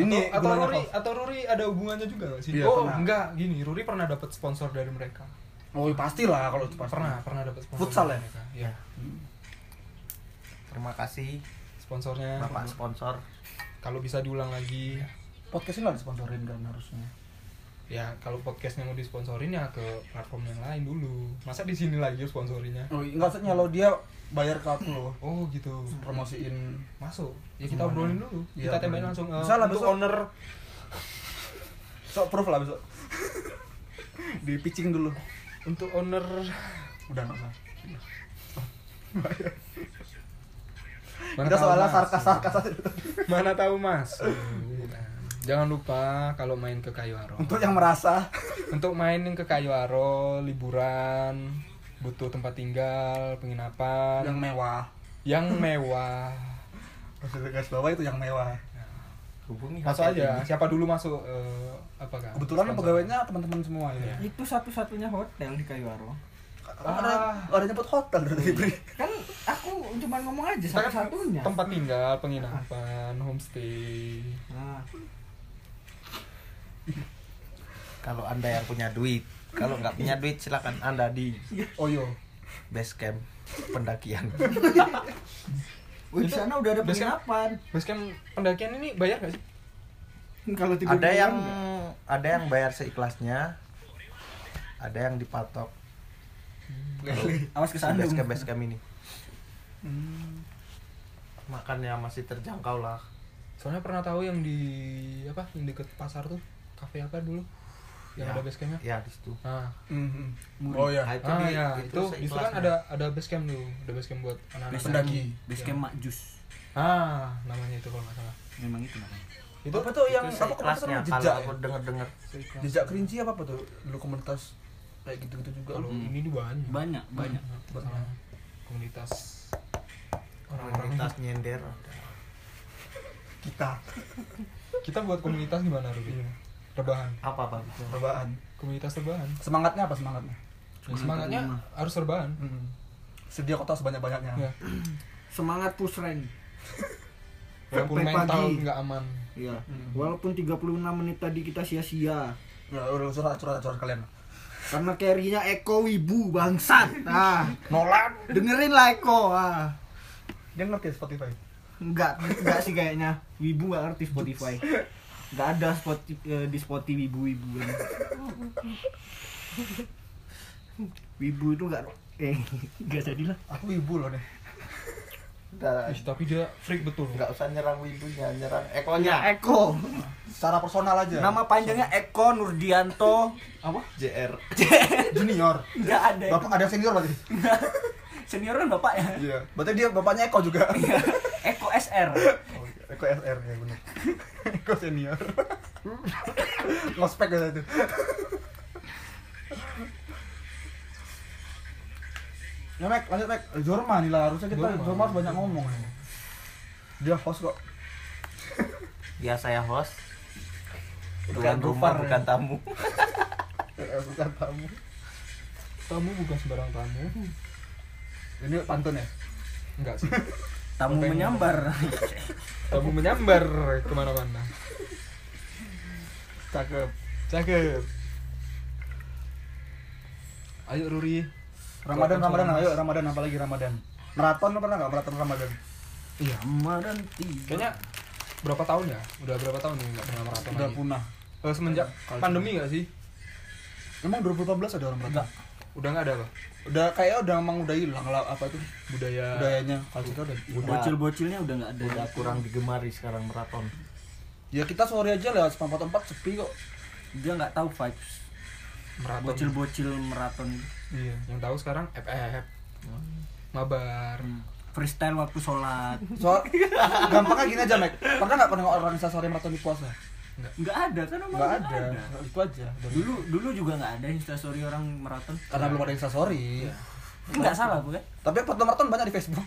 Speaker 1: ini
Speaker 2: atau, atau
Speaker 1: gimana,
Speaker 2: Ruri
Speaker 1: Prof?
Speaker 2: atau Ruri ada hubungannya juga gak sih
Speaker 1: Iya,
Speaker 2: oh
Speaker 1: pernah.
Speaker 2: enggak gini Ruri pernah dapat sponsor dari mereka
Speaker 1: oh pasti lah kalau itu pasti
Speaker 2: pernah pernah dapat sponsor
Speaker 1: Futsal
Speaker 2: dari
Speaker 1: ya?
Speaker 2: mereka. Iya.
Speaker 4: terima kasih
Speaker 2: sponsornya
Speaker 4: bapak sponsor
Speaker 2: kalau bisa diulang lagi
Speaker 1: podcastnya nggak disponsorin kan harusnya
Speaker 2: ya kalau podcastnya mau disponsorin ya ke platform yang lain dulu masa di sini lagi sponsorinnya
Speaker 1: oh nggak usah lo dia bayar ke aku loh
Speaker 2: oh gitu
Speaker 1: promosiin
Speaker 2: masuk ya kita
Speaker 1: Gimana?
Speaker 2: obrolin dulu
Speaker 1: Iya,
Speaker 2: kita tembakin
Speaker 1: obrolin.
Speaker 2: langsung eh,
Speaker 1: Bisa lah,
Speaker 2: untuk
Speaker 1: besok.
Speaker 2: owner
Speaker 1: sok proof lah besok di pitching dulu
Speaker 2: untuk owner
Speaker 1: udah nggak usah
Speaker 2: Mana
Speaker 1: kita
Speaker 2: tahu,
Speaker 1: soalnya
Speaker 2: Mas.
Speaker 1: sarkas sarkas aja
Speaker 2: mana tahu mas Nah, jangan lupa kalau main ke Kayu Aro
Speaker 1: untuk yang merasa
Speaker 2: untuk mainin ke Kayu Aro liburan butuh tempat tinggal penginapan
Speaker 1: yang mewah
Speaker 2: yang mewah
Speaker 1: Maksudnya guys bawah itu yang
Speaker 2: Kan,
Speaker 1: mewah
Speaker 4: hubungi
Speaker 2: masuk
Speaker 4: hotel
Speaker 2: aja
Speaker 4: ini.
Speaker 2: siapa dulu masuk eh, apa kan
Speaker 1: kebetulan
Speaker 2: sponsor. Iya.
Speaker 1: pegawainya teman-teman semua ya
Speaker 3: Itu satu-satunya hotel di Kayuaro.
Speaker 1: Orang ada
Speaker 2: Ah.
Speaker 1: ada nyebut hotel dari Bri
Speaker 3: Kan aku cuma ngomong aja
Speaker 2: Kita kan
Speaker 3: satu-satunya.
Speaker 2: tempat tinggal penginapan homestay
Speaker 3: Nah,
Speaker 4: kalau anda yang punya duit kalau nggak punya duit silakan anda di
Speaker 1: Oyo
Speaker 4: base camp pendakian
Speaker 3: wih, di sana udah ada
Speaker 2: Biasanya-
Speaker 3: penginapan.
Speaker 2: Basecamp pendakian ini bayar gak sih
Speaker 3: Kalau tidur
Speaker 4: ada
Speaker 3: di
Speaker 4: yang
Speaker 3: dalam nggak?
Speaker 4: ada yang bayar seikhlasnya ada yang dipatok
Speaker 3: awas
Speaker 4: si
Speaker 3: kesandung.
Speaker 4: base camp base camp ini
Speaker 1: Hmm.
Speaker 4: makannya ya, masih terjangkau lah
Speaker 2: soalnya pernah tahu yang di apa yang deket pasar tuh kafe apa dulu yang
Speaker 4: Ya.
Speaker 2: ada basecampnya
Speaker 4: ya di situ
Speaker 2: nah
Speaker 1: oh ya
Speaker 4: Nah,
Speaker 2: ah,
Speaker 4: di-
Speaker 2: ya, itu, justru kan
Speaker 4: seikhlasnya.
Speaker 2: ada ada basecamp tuh ada basecamp buat anak-anak
Speaker 1: Pendaki.
Speaker 2: Iya.
Speaker 6: Basecamp Mak Jus.
Speaker 2: ah namanya itu kalau nggak salah
Speaker 6: Memang itu namanya.
Speaker 2: itu
Speaker 1: apa tuh yang
Speaker 4: itu
Speaker 1: apa komunitas
Speaker 4: seikhlasnya
Speaker 1: namanya
Speaker 4: kalau
Speaker 1: jejak
Speaker 4: aku
Speaker 1: ya?
Speaker 4: denger dengar
Speaker 1: jejak kerinci apa apa tuh dulu komunitas kayak gitu gitu juga
Speaker 2: kalau
Speaker 1: loh
Speaker 2: ini tuh banyak
Speaker 6: Banyak,
Speaker 3: Hmm.
Speaker 6: banyak.
Speaker 2: Sama komunitas orang-orang
Speaker 4: komunitas nyender
Speaker 1: kita
Speaker 2: kita buat komunitas gimana Ruby? rebahan
Speaker 4: apa bang
Speaker 1: percobaan
Speaker 2: komunitas rebahan
Speaker 1: semangatnya apa semangatnya
Speaker 2: semangatnya harus rebahan
Speaker 1: Mm. sedia kota sebanyak
Speaker 2: ya
Speaker 1: banyaknya
Speaker 3: Semangat push rank.
Speaker 2: walaupun
Speaker 3: Sampai
Speaker 2: mental
Speaker 3: pagi.
Speaker 2: nggak aman
Speaker 3: Iya.
Speaker 6: Hmm.
Speaker 3: Walaupun 36 menit tadi kita sia-sia
Speaker 1: ya udah curhat curhat curhat kalian
Speaker 3: karena carry-nya Eko Wibu bangsat. Nah, Nolan dengerin lah Eko. Ah.
Speaker 1: dia ngerti Spotify
Speaker 3: Enggak, enggak sih kayaknya. Wibu gak ngerti Spotify. Enggak ada spot eh, di Spotify wibu-wibu. Wibu itu enggak eh enggak jadilah.
Speaker 1: aku ibu loh nih
Speaker 4: udah
Speaker 2: Ih, tapi dia freak betul
Speaker 4: nggak usah nyerang windunya nyerang ekonya
Speaker 3: Eko.
Speaker 1: secara personal aja
Speaker 3: Nama panjangnya Eko Nurdianto. Apa?
Speaker 4: jr
Speaker 1: junior
Speaker 3: Enggak ada.
Speaker 1: bapak ada senior berarti
Speaker 3: Senior kan bapak ya.
Speaker 1: iya berarti dia bapaknya Eko juga
Speaker 3: Eko SR.
Speaker 1: Oh, Eko SR ya benar Eko senior ngospek gitu itu ya Mek lanjut Mek Jorma nih lah harusnya kita
Speaker 2: Jorma.
Speaker 1: Jorma, harus banyak ngomong nih. dia host kok
Speaker 4: ya saya host
Speaker 1: Bukan
Speaker 4: bukan rumah
Speaker 1: roofer,
Speaker 4: bukan
Speaker 1: ya.
Speaker 4: tamu
Speaker 1: Eh, bukan tamu
Speaker 2: tamu bukan sembarang tamu
Speaker 1: ini pantun ya
Speaker 2: nggak sih
Speaker 6: Tamu
Speaker 2: Sampai
Speaker 6: menyambar.
Speaker 2: Kamu menyambar kemana-mana.
Speaker 1: Cakep.
Speaker 2: Cakep. Ayo Ruri.
Speaker 1: Ramadan,
Speaker 2: Kelakuan
Speaker 1: Ramadan,
Speaker 2: seorang
Speaker 1: ayo
Speaker 2: mas.
Speaker 1: Ramadan apalagi Ramadan. Maraton lo pernah nggak maraton Ramadan?
Speaker 6: Iya, Ramadan tiba.
Speaker 2: Kayaknya berapa tahun ya? Udah berapa tahun nih nggak pernah maraton
Speaker 1: Udah
Speaker 2: lagi?
Speaker 1: punah.
Speaker 2: Eh, semenjak pandemi nggak sih?
Speaker 1: Emang 2014 ada orang maraton?
Speaker 2: Udah nggak ada apa?
Speaker 1: Udah kayaknya udah emang udah hilang lah apa itu
Speaker 2: Budaya.
Speaker 1: budayanya kalau kita udah.
Speaker 6: Bocil-bocilnya udah nggak ada.
Speaker 4: udah Ya, kurang digemari sekarang maraton
Speaker 1: Ya kita sore aja lewat tempat tempat sepi kok.
Speaker 6: Dia nggak tahu vibes.
Speaker 2: maraton.
Speaker 6: Bocil-bocil maraton itu.
Speaker 2: Iya. Yang tahu sekarang FF. Mabar.
Speaker 3: Hmm.
Speaker 6: Freestyle waktu sholat.
Speaker 1: Soal gampangnya gini aja, Mek. Pernah nggak pernah orang Indonesia sore maraton di puasa?
Speaker 6: Nggak ada kan emang
Speaker 1: Nggak ada. Itu aja.
Speaker 3: Hmm.
Speaker 6: Dulu dulu juga nggak ada instastory orang maraton.
Speaker 1: Karena belum ada Insta sorry.
Speaker 6: Nggak salah
Speaker 5: ya.
Speaker 6: bukan?
Speaker 1: Tapi foto maraton banyak di Facebook.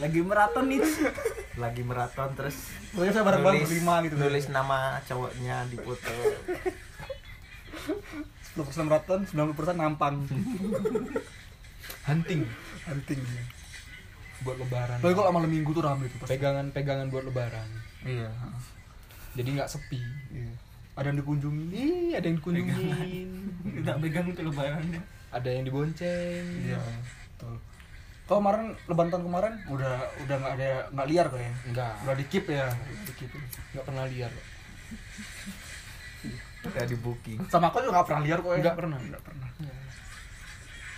Speaker 6: Lagi maraton nih.
Speaker 4: lagi maraton terus
Speaker 1: Soalnya saya bareng-bareng
Speaker 4: nulis-
Speaker 1: berlima gitu.
Speaker 4: nulis nama cowoknya di foto
Speaker 1: 10% maraton, 90% nampang.
Speaker 2: Hunting
Speaker 1: Hunting dia.
Speaker 2: buat lebaran.
Speaker 1: Tapi kok malam minggu tuh rame tuh
Speaker 2: Iya.
Speaker 1: pasti.
Speaker 2: Pegangan-pegangan buat lebaran.
Speaker 1: Iya.
Speaker 2: Jadi nggak sepi.
Speaker 1: Iya. Ada yang dikunjungi.
Speaker 2: Ih, ada yang dikunjungin.
Speaker 6: Nggak pegang tuh lebaran.
Speaker 2: ada yang dibonceng
Speaker 1: Iya. Betul. Kau kemarin lebaran tahun kemarin udah udah nggak ada nggak liar kok ya?
Speaker 2: enggak
Speaker 1: Udah di keep ya. Di keep.
Speaker 2: enggak pernah liar kok.
Speaker 4: udah di booking
Speaker 1: Sama aku juga nggak pernah liar kok ya.
Speaker 2: enggak pernah
Speaker 1: Nggak pernah.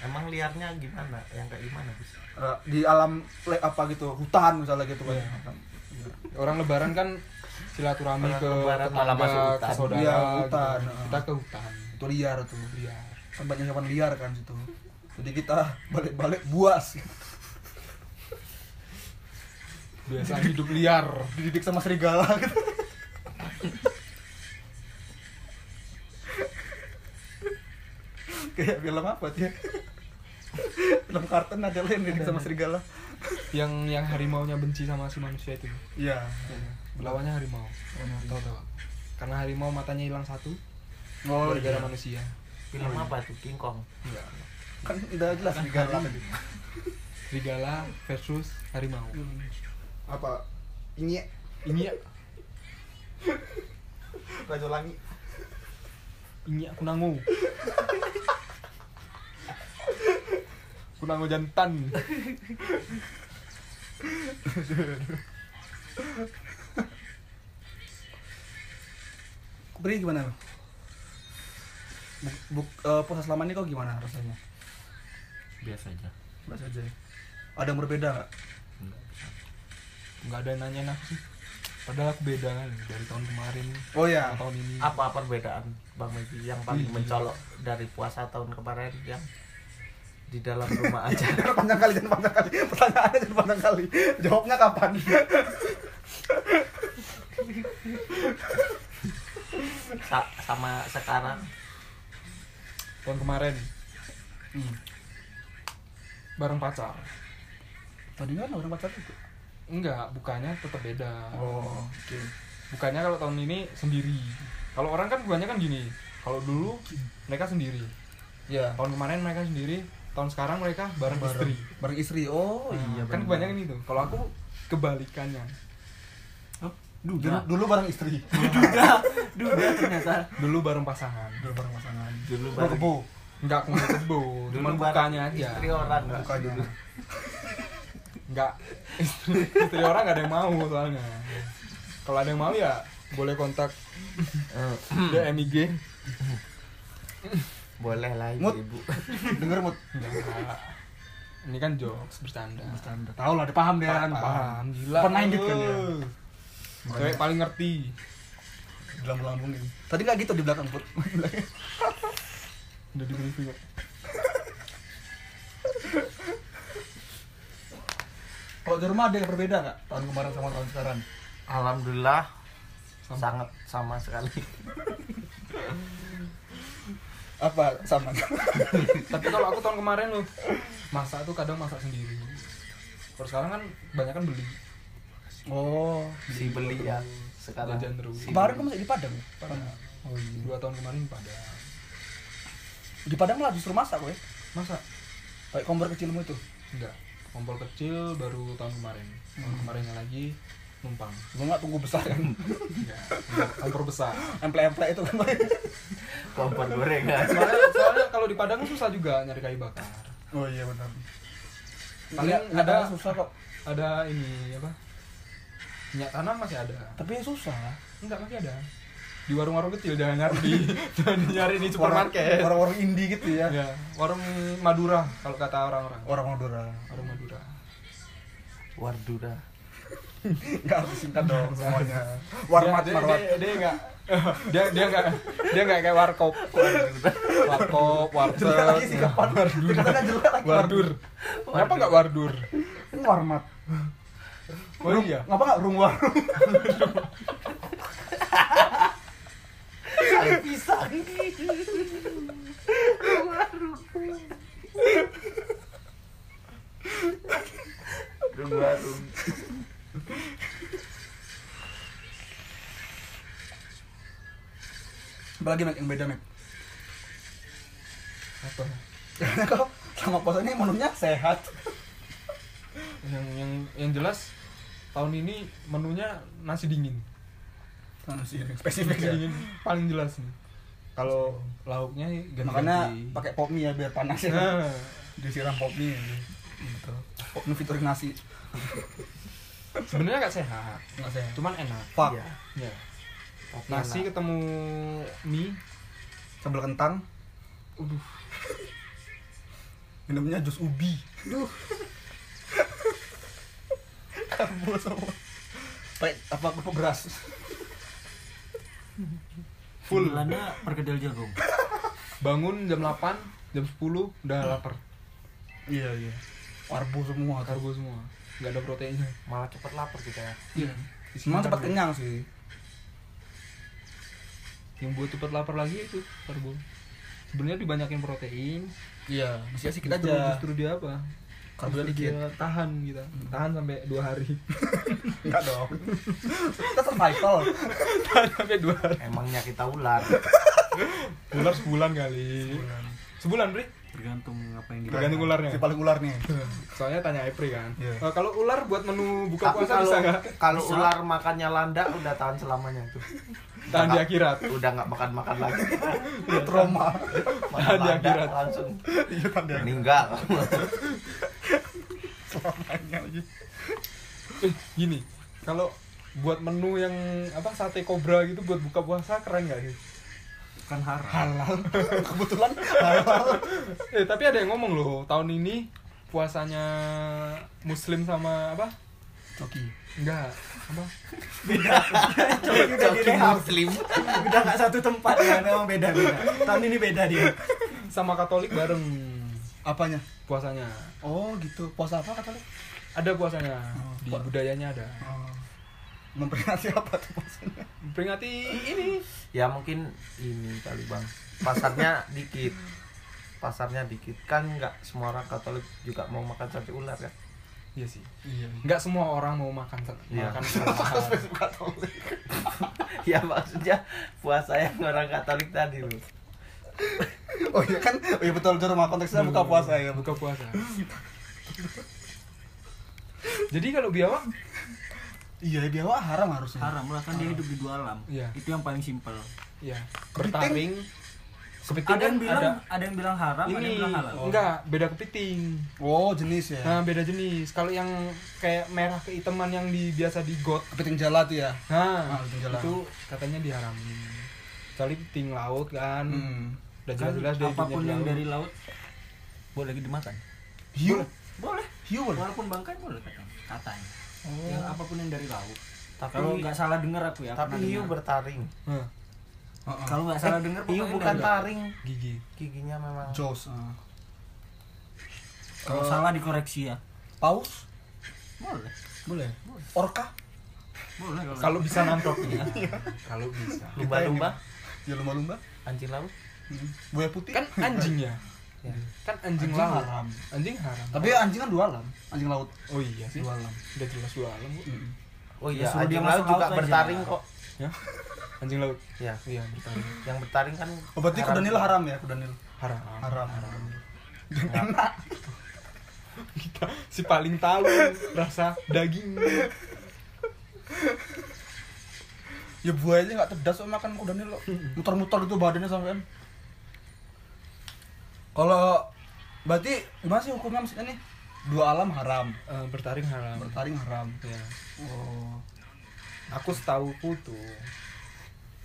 Speaker 4: emang liarnya gimana yang kayak gimana Gus?
Speaker 1: Eh, Di alam le- apa gitu hutan misalnya gitu kan.
Speaker 2: orang lebaran kan silaturahmi
Speaker 4: Orang
Speaker 2: ke
Speaker 4: lebaran malah
Speaker 2: tetangga
Speaker 4: masuk hutan.
Speaker 2: ke saudara
Speaker 1: Iya,
Speaker 2: gitu.
Speaker 1: hutan.
Speaker 2: kita ke hutan
Speaker 1: Itu liar tuh.
Speaker 2: liar
Speaker 1: Kan banyak hewan liar kan situ. Jadi kita balik-balik buas.
Speaker 2: biasa hidup liar
Speaker 1: Dididik sama serigala gitu. Kayak film apa dia? film kartun ada lain dididik sama serigala.
Speaker 2: yang yang harimaunya benci sama si manusia itu
Speaker 1: Iya.
Speaker 2: lawannya harimau tahu tahu karena harimau matanya hilang satu
Speaker 1: Oh,
Speaker 2: gara-gara
Speaker 1: iya.
Speaker 2: manusia
Speaker 4: film apa tuh King Kong
Speaker 2: enggak
Speaker 1: Kan udah jelas serigala tadi.
Speaker 2: serigala versus harimau
Speaker 1: Apa ini
Speaker 2: ini ya
Speaker 4: Raja Langit
Speaker 2: ini aku nangu kunango jantan
Speaker 1: Beri gimana? Buk, buk, eh, puasa selama ini kok gimana rasanya?
Speaker 4: biasa aja
Speaker 1: Biasa aja. ya? Ada yang berbeda nggak?
Speaker 2: nggak ada yang nanyain aku sih padahal aku beda kan dari tahun kemarin
Speaker 1: Oh
Speaker 2: sama
Speaker 1: ya.
Speaker 2: tahun ini
Speaker 4: apa perbedaan Bang Megi yang paling
Speaker 2: Wih, gila.
Speaker 4: mencolok dari puasa tahun kemarin yang di dalam rumah aja
Speaker 1: panjang kali jangan panjang kali. Pertanyaannya jangan panjang kali. Jawabnya kapan?
Speaker 4: Sa- sama sekarang
Speaker 2: tahun kemarin
Speaker 1: Hmm.
Speaker 2: bareng pacar
Speaker 1: Tadi kan orang pacar itu.
Speaker 2: enggak bukannya tetap beda
Speaker 1: Oh, oke.
Speaker 2: bukannya kalau tahun ini sendiri kalau orang kan bukannya kan gini kalau dulu mereka sendiri
Speaker 1: Ya.
Speaker 2: tahun kemarin mereka sendiri tahun sekarang mereka bareng, istri
Speaker 1: Bareng istri. Oh, iya. benar.
Speaker 2: kan kebanyakan itu kalau aku kebalikannya
Speaker 1: Dulu, dulu bareng istri.
Speaker 6: Duda ternyata.
Speaker 2: dulu bareng pasangan
Speaker 1: dulu bareng pasangan.
Speaker 4: dulu
Speaker 1: Dulu
Speaker 4: bareng
Speaker 1: kebo.
Speaker 2: enggak aku nggak kebo
Speaker 4: dulu
Speaker 2: cuman
Speaker 4: bareng
Speaker 2: bukannya aja
Speaker 4: istri orang
Speaker 1: Bukannya.
Speaker 2: enggak istri, istri orang nggak ada yang mau soalnya kalau ada yang mau ya boleh kontak
Speaker 4: Eh,
Speaker 2: DM IG
Speaker 4: boleh lah
Speaker 1: Mut.
Speaker 4: ibu
Speaker 1: Denger mut.
Speaker 2: Enggak. ini kan jokes bercanda
Speaker 1: Bercanda. Tahu lah, dia paham dia kan.
Speaker 2: paham gila
Speaker 1: Pernah inget kan dia.
Speaker 2: Eh. cewek paling ngerti
Speaker 1: Dalam lambung ini. Tadi nggak gitu di belakang put.
Speaker 2: udah di briefing kok.
Speaker 1: Kalau di rumah ada yang berbeda nggak tahun kemarin sama tahun sekarang?
Speaker 4: alhamdulillah
Speaker 2: Sama.
Speaker 4: sangat sama sekali
Speaker 1: Apa sama?
Speaker 2: tapi kalau aku tahun kemarin loh masak tuh kadang masak sendiri kalau sekarang kan banyak kan beli
Speaker 1: oh.
Speaker 4: si beli ya sekarang
Speaker 2: Jajan terus.
Speaker 4: Si
Speaker 1: Kemarin
Speaker 4: beli.
Speaker 1: kamu masih di Padang? Padang.
Speaker 2: oh, iya. dua tahun kemarin pada
Speaker 1: Di Padang malah justru masak gue.
Speaker 2: masak
Speaker 1: Kayak kompor kecilmu itu. Hmm.
Speaker 2: enggak kompor kecil baru tahun kemarin tahun kemarinnya lagi numpang
Speaker 1: Gue nggak tunggu besar kan.
Speaker 2: ya kompor besar
Speaker 1: Emple-emple itu kan. Pak.
Speaker 4: kompor gorengan
Speaker 2: soalnya, soalnya kalau di Padang susah juga nyari kayu bakar
Speaker 1: Oh iya benar.
Speaker 2: Paling
Speaker 1: Nggak- nggak
Speaker 2: ada-
Speaker 1: tahu susah kok.
Speaker 2: ada ini apa minyak tanam masih ada
Speaker 1: Tapi susah.
Speaker 2: enggak masih ada di warung-warung kecil jangan nyari di jangan nyari di
Speaker 1: Orang-
Speaker 2: supermarket
Speaker 1: Orang-orang indie gitu ya.
Speaker 2: ya warung Madura kalau kata orang-orang
Speaker 1: Orang Madura.
Speaker 2: warung Madura
Speaker 4: wardura
Speaker 1: Enggak harus singkat dong semuanya.
Speaker 2: warmat
Speaker 1: Warmat, warmat.
Speaker 2: dia dia nggak dia dia nggak dia nggak kayak warkop warkop warteg
Speaker 1: Jelek lagi sih kapan? Katanya jelek lagi.
Speaker 2: wardur kenapa nggak wardur
Speaker 1: Warmat.
Speaker 2: oh iya
Speaker 1: Ngapa nggak rung warung?
Speaker 4: warung warung
Speaker 1: Apa lagi Mac, yang beda Mac?
Speaker 2: apa
Speaker 1: Karena kau sama puasa ini menunya sehat.
Speaker 2: yang yang yang jelas tahun ini menunya nasi dingin
Speaker 1: Manusia
Speaker 2: nasi
Speaker 1: spesifik ya.
Speaker 2: dingin paling jelas nih kalau lauknya ganti
Speaker 1: Makanya pakai pop mie ya biar panas ya.
Speaker 2: nah,
Speaker 1: Disiram pop mie. gitu. Betul. Pop mie featuring Oh, nasi.
Speaker 2: sebenarnya nggak sehat
Speaker 1: Enggak sehat.
Speaker 2: cuman enak
Speaker 1: Fuck.
Speaker 4: Iya.
Speaker 2: ya
Speaker 4: Tapi
Speaker 2: nasi
Speaker 4: enak.
Speaker 2: ketemu mie
Speaker 1: Sambal kentang.
Speaker 2: Aduh.
Speaker 1: Minumnya jus ubi. Duh. Karbo semua. Pakai apa kerupuk beras?
Speaker 2: full
Speaker 5: Bulannya perkedel jagung.
Speaker 2: bangun jam 8 jam 10 udah lapar
Speaker 1: Iya iya. Karbo semua.
Speaker 2: karbo semua nggak ada proteinnya
Speaker 4: malah cepet lapar kita ya
Speaker 2: iya
Speaker 1: Semua cepat kenyang sih.
Speaker 2: yang buat cepet lapar lagi itu karbo sebenarnya dibanyakin protein
Speaker 1: Iya, masih asik kita
Speaker 2: justru,
Speaker 1: aja.
Speaker 2: justru dia apa
Speaker 1: Karbonya
Speaker 2: Justru
Speaker 1: dikit.
Speaker 2: dia tahan gitu. kita tahan sampai dua hari
Speaker 1: Enggak dong. Kita survival.
Speaker 2: tahan sampai dua hari
Speaker 4: emangnya kita ular
Speaker 2: ular sebulan kali sebulan Pri
Speaker 5: Tergantung apa yang kita.
Speaker 2: tergantung ularnya
Speaker 1: Si paling ular nih.
Speaker 2: soalnya tanya Epri kan
Speaker 1: Iya.
Speaker 2: Eh, kalau ular buat menu buka
Speaker 4: tapi
Speaker 2: puasa
Speaker 4: kalau
Speaker 2: bisa nggak
Speaker 4: kalau ular makannya landak udah tahan selamanya tuh
Speaker 2: tahan di akhirat
Speaker 4: udah nggak makan makan lagi
Speaker 1: Trauma.
Speaker 4: makan
Speaker 2: Di
Speaker 4: landak
Speaker 2: akhirat.
Speaker 4: langsung
Speaker 1: Iya kan dia
Speaker 4: meninggal
Speaker 1: selamanya lagi.
Speaker 2: eh gini kalau buat menu yang apa sate kobra gitu buat buka puasa keren nggak sih
Speaker 5: Kan haram.
Speaker 1: Halal. Kebetulan halal.
Speaker 2: Eh tapi ada yang ngomong loh tahun ini puasanya Muslim sama apa?
Speaker 1: Coki.
Speaker 2: Enggak apa?
Speaker 6: udah di rehab muslim udah nggak satu tempat ya memang beda beda tahun ini beda dia
Speaker 2: Sama Katolik bareng
Speaker 1: Apanya?
Speaker 2: puasanya.
Speaker 1: Oh gitu. Puasa apa kata lu?
Speaker 2: Ada puasanya
Speaker 1: Oh,
Speaker 2: di
Speaker 1: kok-
Speaker 2: budayanya ada.
Speaker 1: Oh. Memperingati apa tuh puasanya?
Speaker 2: Peringati ini
Speaker 4: ya mungkin ini kali bang pasarnya dikit pasarnya dikit kan nggak semua orang Katolik juga mau makan sate ular kan
Speaker 2: Iya sih.
Speaker 1: Iya.
Speaker 2: Enggak semua orang mau makan
Speaker 4: Iya.
Speaker 2: makan sate.
Speaker 4: ya maksudnya puasa yang orang Katolik tadi loh
Speaker 1: Oh iya kan? Oh iya betul betul rumah konteksnya buka puasa ya.
Speaker 2: buka puasa. Jadi kalau biawak
Speaker 1: Iya, dia wah haram harusnya.
Speaker 5: Haram lah kan dia hidup di dua alam.
Speaker 2: Iya.
Speaker 5: Itu yang paling simpel.
Speaker 2: ya bertaring kepiting
Speaker 5: Ada yang
Speaker 2: kan
Speaker 5: bilang ada, yang bilang haram, ada yang
Speaker 2: ini
Speaker 5: bilang halal.
Speaker 2: enggak beda kepiting
Speaker 1: Oh, jenis ya.
Speaker 2: Nah, beda jenis. Kalau yang kayak merah keiteman yang di, biasa di got.
Speaker 1: Kepiting jala tuh ya.
Speaker 2: Nah,
Speaker 1: Ah, itu jalan.
Speaker 2: itu katanya diharamin. Kecuali ting laut kan.
Speaker 1: Hmm.
Speaker 2: Udah
Speaker 5: Kan
Speaker 2: jelas-jelas dia
Speaker 5: apapun
Speaker 2: hidupnya
Speaker 5: yang
Speaker 2: di
Speaker 5: dari
Speaker 2: laut.
Speaker 5: laut boleh dimakan.
Speaker 1: Hiu.
Speaker 5: Boleh.
Speaker 1: Hiu. boleh?
Speaker 5: Walaupun bangkai boleh katanya. Katanya. Yang apapun yang dari laut.
Speaker 4: tapi
Speaker 5: Kalau nggak salah dengar aku ya.
Speaker 4: tapi iya,
Speaker 5: pernah
Speaker 4: hiu
Speaker 5: dengar.
Speaker 4: bertaring
Speaker 2: Hah,
Speaker 1: Heeh.
Speaker 5: Kalau nggak salah dengar
Speaker 4: hiu
Speaker 5: pokoknya
Speaker 4: iya, bukan
Speaker 5: dari-
Speaker 4: taring
Speaker 2: gigi.
Speaker 4: giginya memang
Speaker 1: Jaws. ah.
Speaker 5: Kalau salah dikoreksi ya.
Speaker 1: Paus?
Speaker 5: Boleh.
Speaker 1: Boleh. Orca?
Speaker 5: Boleh
Speaker 2: Kalau bisa nangkep ya. Kalau bisa.
Speaker 4: Iya. lumba-lumba
Speaker 1: Ya lumba-lumba.
Speaker 4: anjing laut
Speaker 1: Hmm. Buaya putih.
Speaker 2: Kan anjingnya. Kan
Speaker 1: Ya.
Speaker 2: anjing,
Speaker 1: Anjing
Speaker 2: laut.
Speaker 1: haram.
Speaker 2: Anjing haram.
Speaker 1: Tapi anjing kan dua alam. Anjing laut.
Speaker 2: oh iya sih.
Speaker 1: Dua alam.
Speaker 2: Udah jelas dua alam kok.
Speaker 1: Mm.
Speaker 4: oh iya
Speaker 5: suruh dia
Speaker 4: anjing
Speaker 5: masuk
Speaker 4: laut juga
Speaker 5: laut aja.
Speaker 4: bertaring kok
Speaker 2: Ya. Anjing laut.
Speaker 4: ya
Speaker 2: Iya, bertaring.
Speaker 4: yang bertaring kan
Speaker 1: Oh, berarti kuda nil haram ya, kuda nil.
Speaker 2: Haram.
Speaker 1: Haram.
Speaker 2: Kita si paling tahu rasa daging.
Speaker 1: ya buayanya nggak cerdas kok makan kudanya lo muter-muter gitu badannya sampean kalau berarti gimana sih hukumnya maksudnya nih dua alam haram
Speaker 2: Eh, bertaring haram
Speaker 1: bertaring haram
Speaker 2: Ya.
Speaker 1: oh.
Speaker 2: aku setahu tuh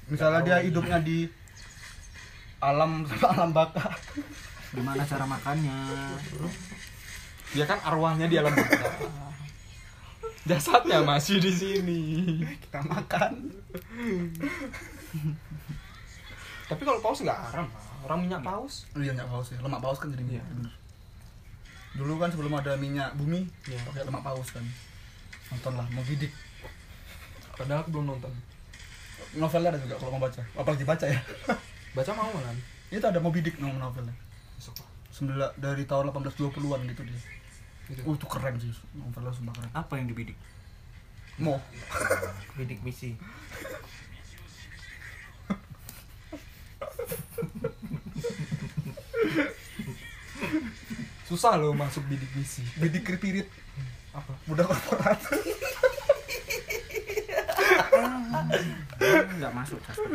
Speaker 1: misalnya dia hidupnya di alam alam baka
Speaker 5: Gimana cara makannya?
Speaker 2: dia kan arwahnya di alam barzah. jasadnya masih di sini
Speaker 1: kita makan
Speaker 2: tapi kalau paus nggak haram lah. orang minyak paus
Speaker 1: iya minyak paus ya lemak paus kan jadi minyak
Speaker 2: Iya.
Speaker 1: bener. dulu kan sebelum ada minyak bumi
Speaker 2: Iya.
Speaker 1: pakai lemak paus kan nontonlah mau bidik
Speaker 2: padahal aku belum nonton
Speaker 1: novelnya ada juga kalau mau baca apalagi baca ya
Speaker 2: baca mau malam
Speaker 1: itu ada Moby Dick nama novelnya
Speaker 2: besok lah
Speaker 1: Sembilan, dari tahun 1820-an gitu dia
Speaker 2: gitu.
Speaker 1: uh itu keren sih novelnya sumpah keren
Speaker 5: Apa yang dibidik?
Speaker 1: mau
Speaker 4: bidik misi
Speaker 2: susah loh masuk bidik misi
Speaker 1: bidik kripirit
Speaker 2: apa
Speaker 1: budak korporat
Speaker 5: Enggak masuk Jasper.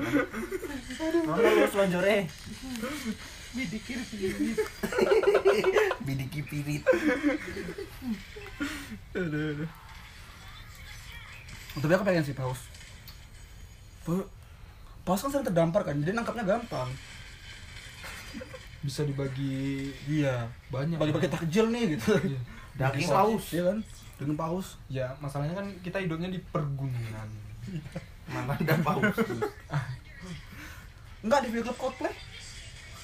Speaker 6: Rono lu selonjore.
Speaker 4: bidiki pirit
Speaker 1: tapi aku pengen sih paus Pa- paus kan sering terdampar kan jadi nangkapnya gampang
Speaker 2: bisa dibagi
Speaker 1: iya
Speaker 2: banyak
Speaker 1: bagi-bagi takjil nih gitu
Speaker 2: Iya.
Speaker 4: Daging
Speaker 1: Daging
Speaker 4: paus.
Speaker 1: iya kan daging paus
Speaker 2: ya masalahnya kan kita hidupnya di pergunungan
Speaker 4: mana ada paus
Speaker 1: enggak di video klub Coldplay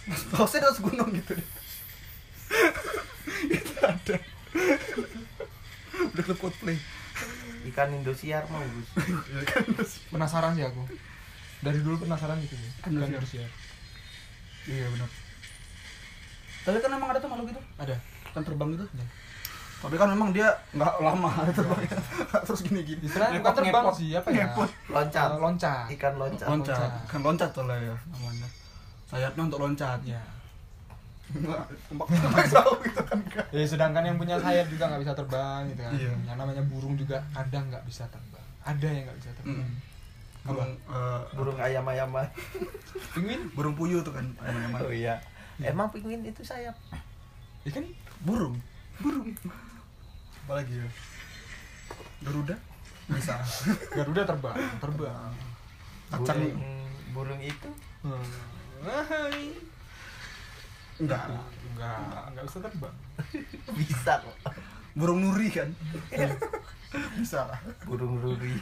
Speaker 1: Mas pausnya di atas gunung gitu deh itu ada video klub Coldplay
Speaker 4: ikan indosiar mau gus
Speaker 2: penasaran sih aku dari dulu penasaran gitu ya
Speaker 1: Kan
Speaker 2: Kan
Speaker 1: harus ya.
Speaker 2: harus ya
Speaker 1: iya benar tapi kan emang ada tuh makhluk itu
Speaker 2: ada
Speaker 1: kan terbang gitu tapi kan memang dia nggak lama terbang terus gini gini
Speaker 2: istilahnya bukan terbang sih apa ya
Speaker 4: loncat
Speaker 2: Eh, loncat
Speaker 4: ikan loncat
Speaker 1: loncat
Speaker 2: loncat.
Speaker 1: kan loncat tuh lah ya namanya sayapnya untuk loncat
Speaker 2: ya
Speaker 1: Nggak, nggak tahu gitu kan nggak.
Speaker 2: ya sedangkan yang punya sayap juga nggak bisa terbang gitu kan
Speaker 1: Iya.
Speaker 2: yang namanya burung juga ada nggak bisa terbang ada yang nggak bisa terbang
Speaker 1: Mm. burung eh,
Speaker 4: burung ayam ayaman
Speaker 2: penguin
Speaker 1: burung puyuh tuh kan ayam-ayaman.
Speaker 4: oh iya emang penguin itu sayap
Speaker 2: ya kan
Speaker 1: burung burung apalagi ya Garuda bisa
Speaker 2: garuda terbang terbang
Speaker 1: Kacang.
Speaker 4: burung burung itu
Speaker 2: Hmm. Hai.
Speaker 1: enggak
Speaker 2: nggak nggak bisa terbang
Speaker 4: bisa kok
Speaker 1: burung nuri kan bisa lah
Speaker 4: burung ruri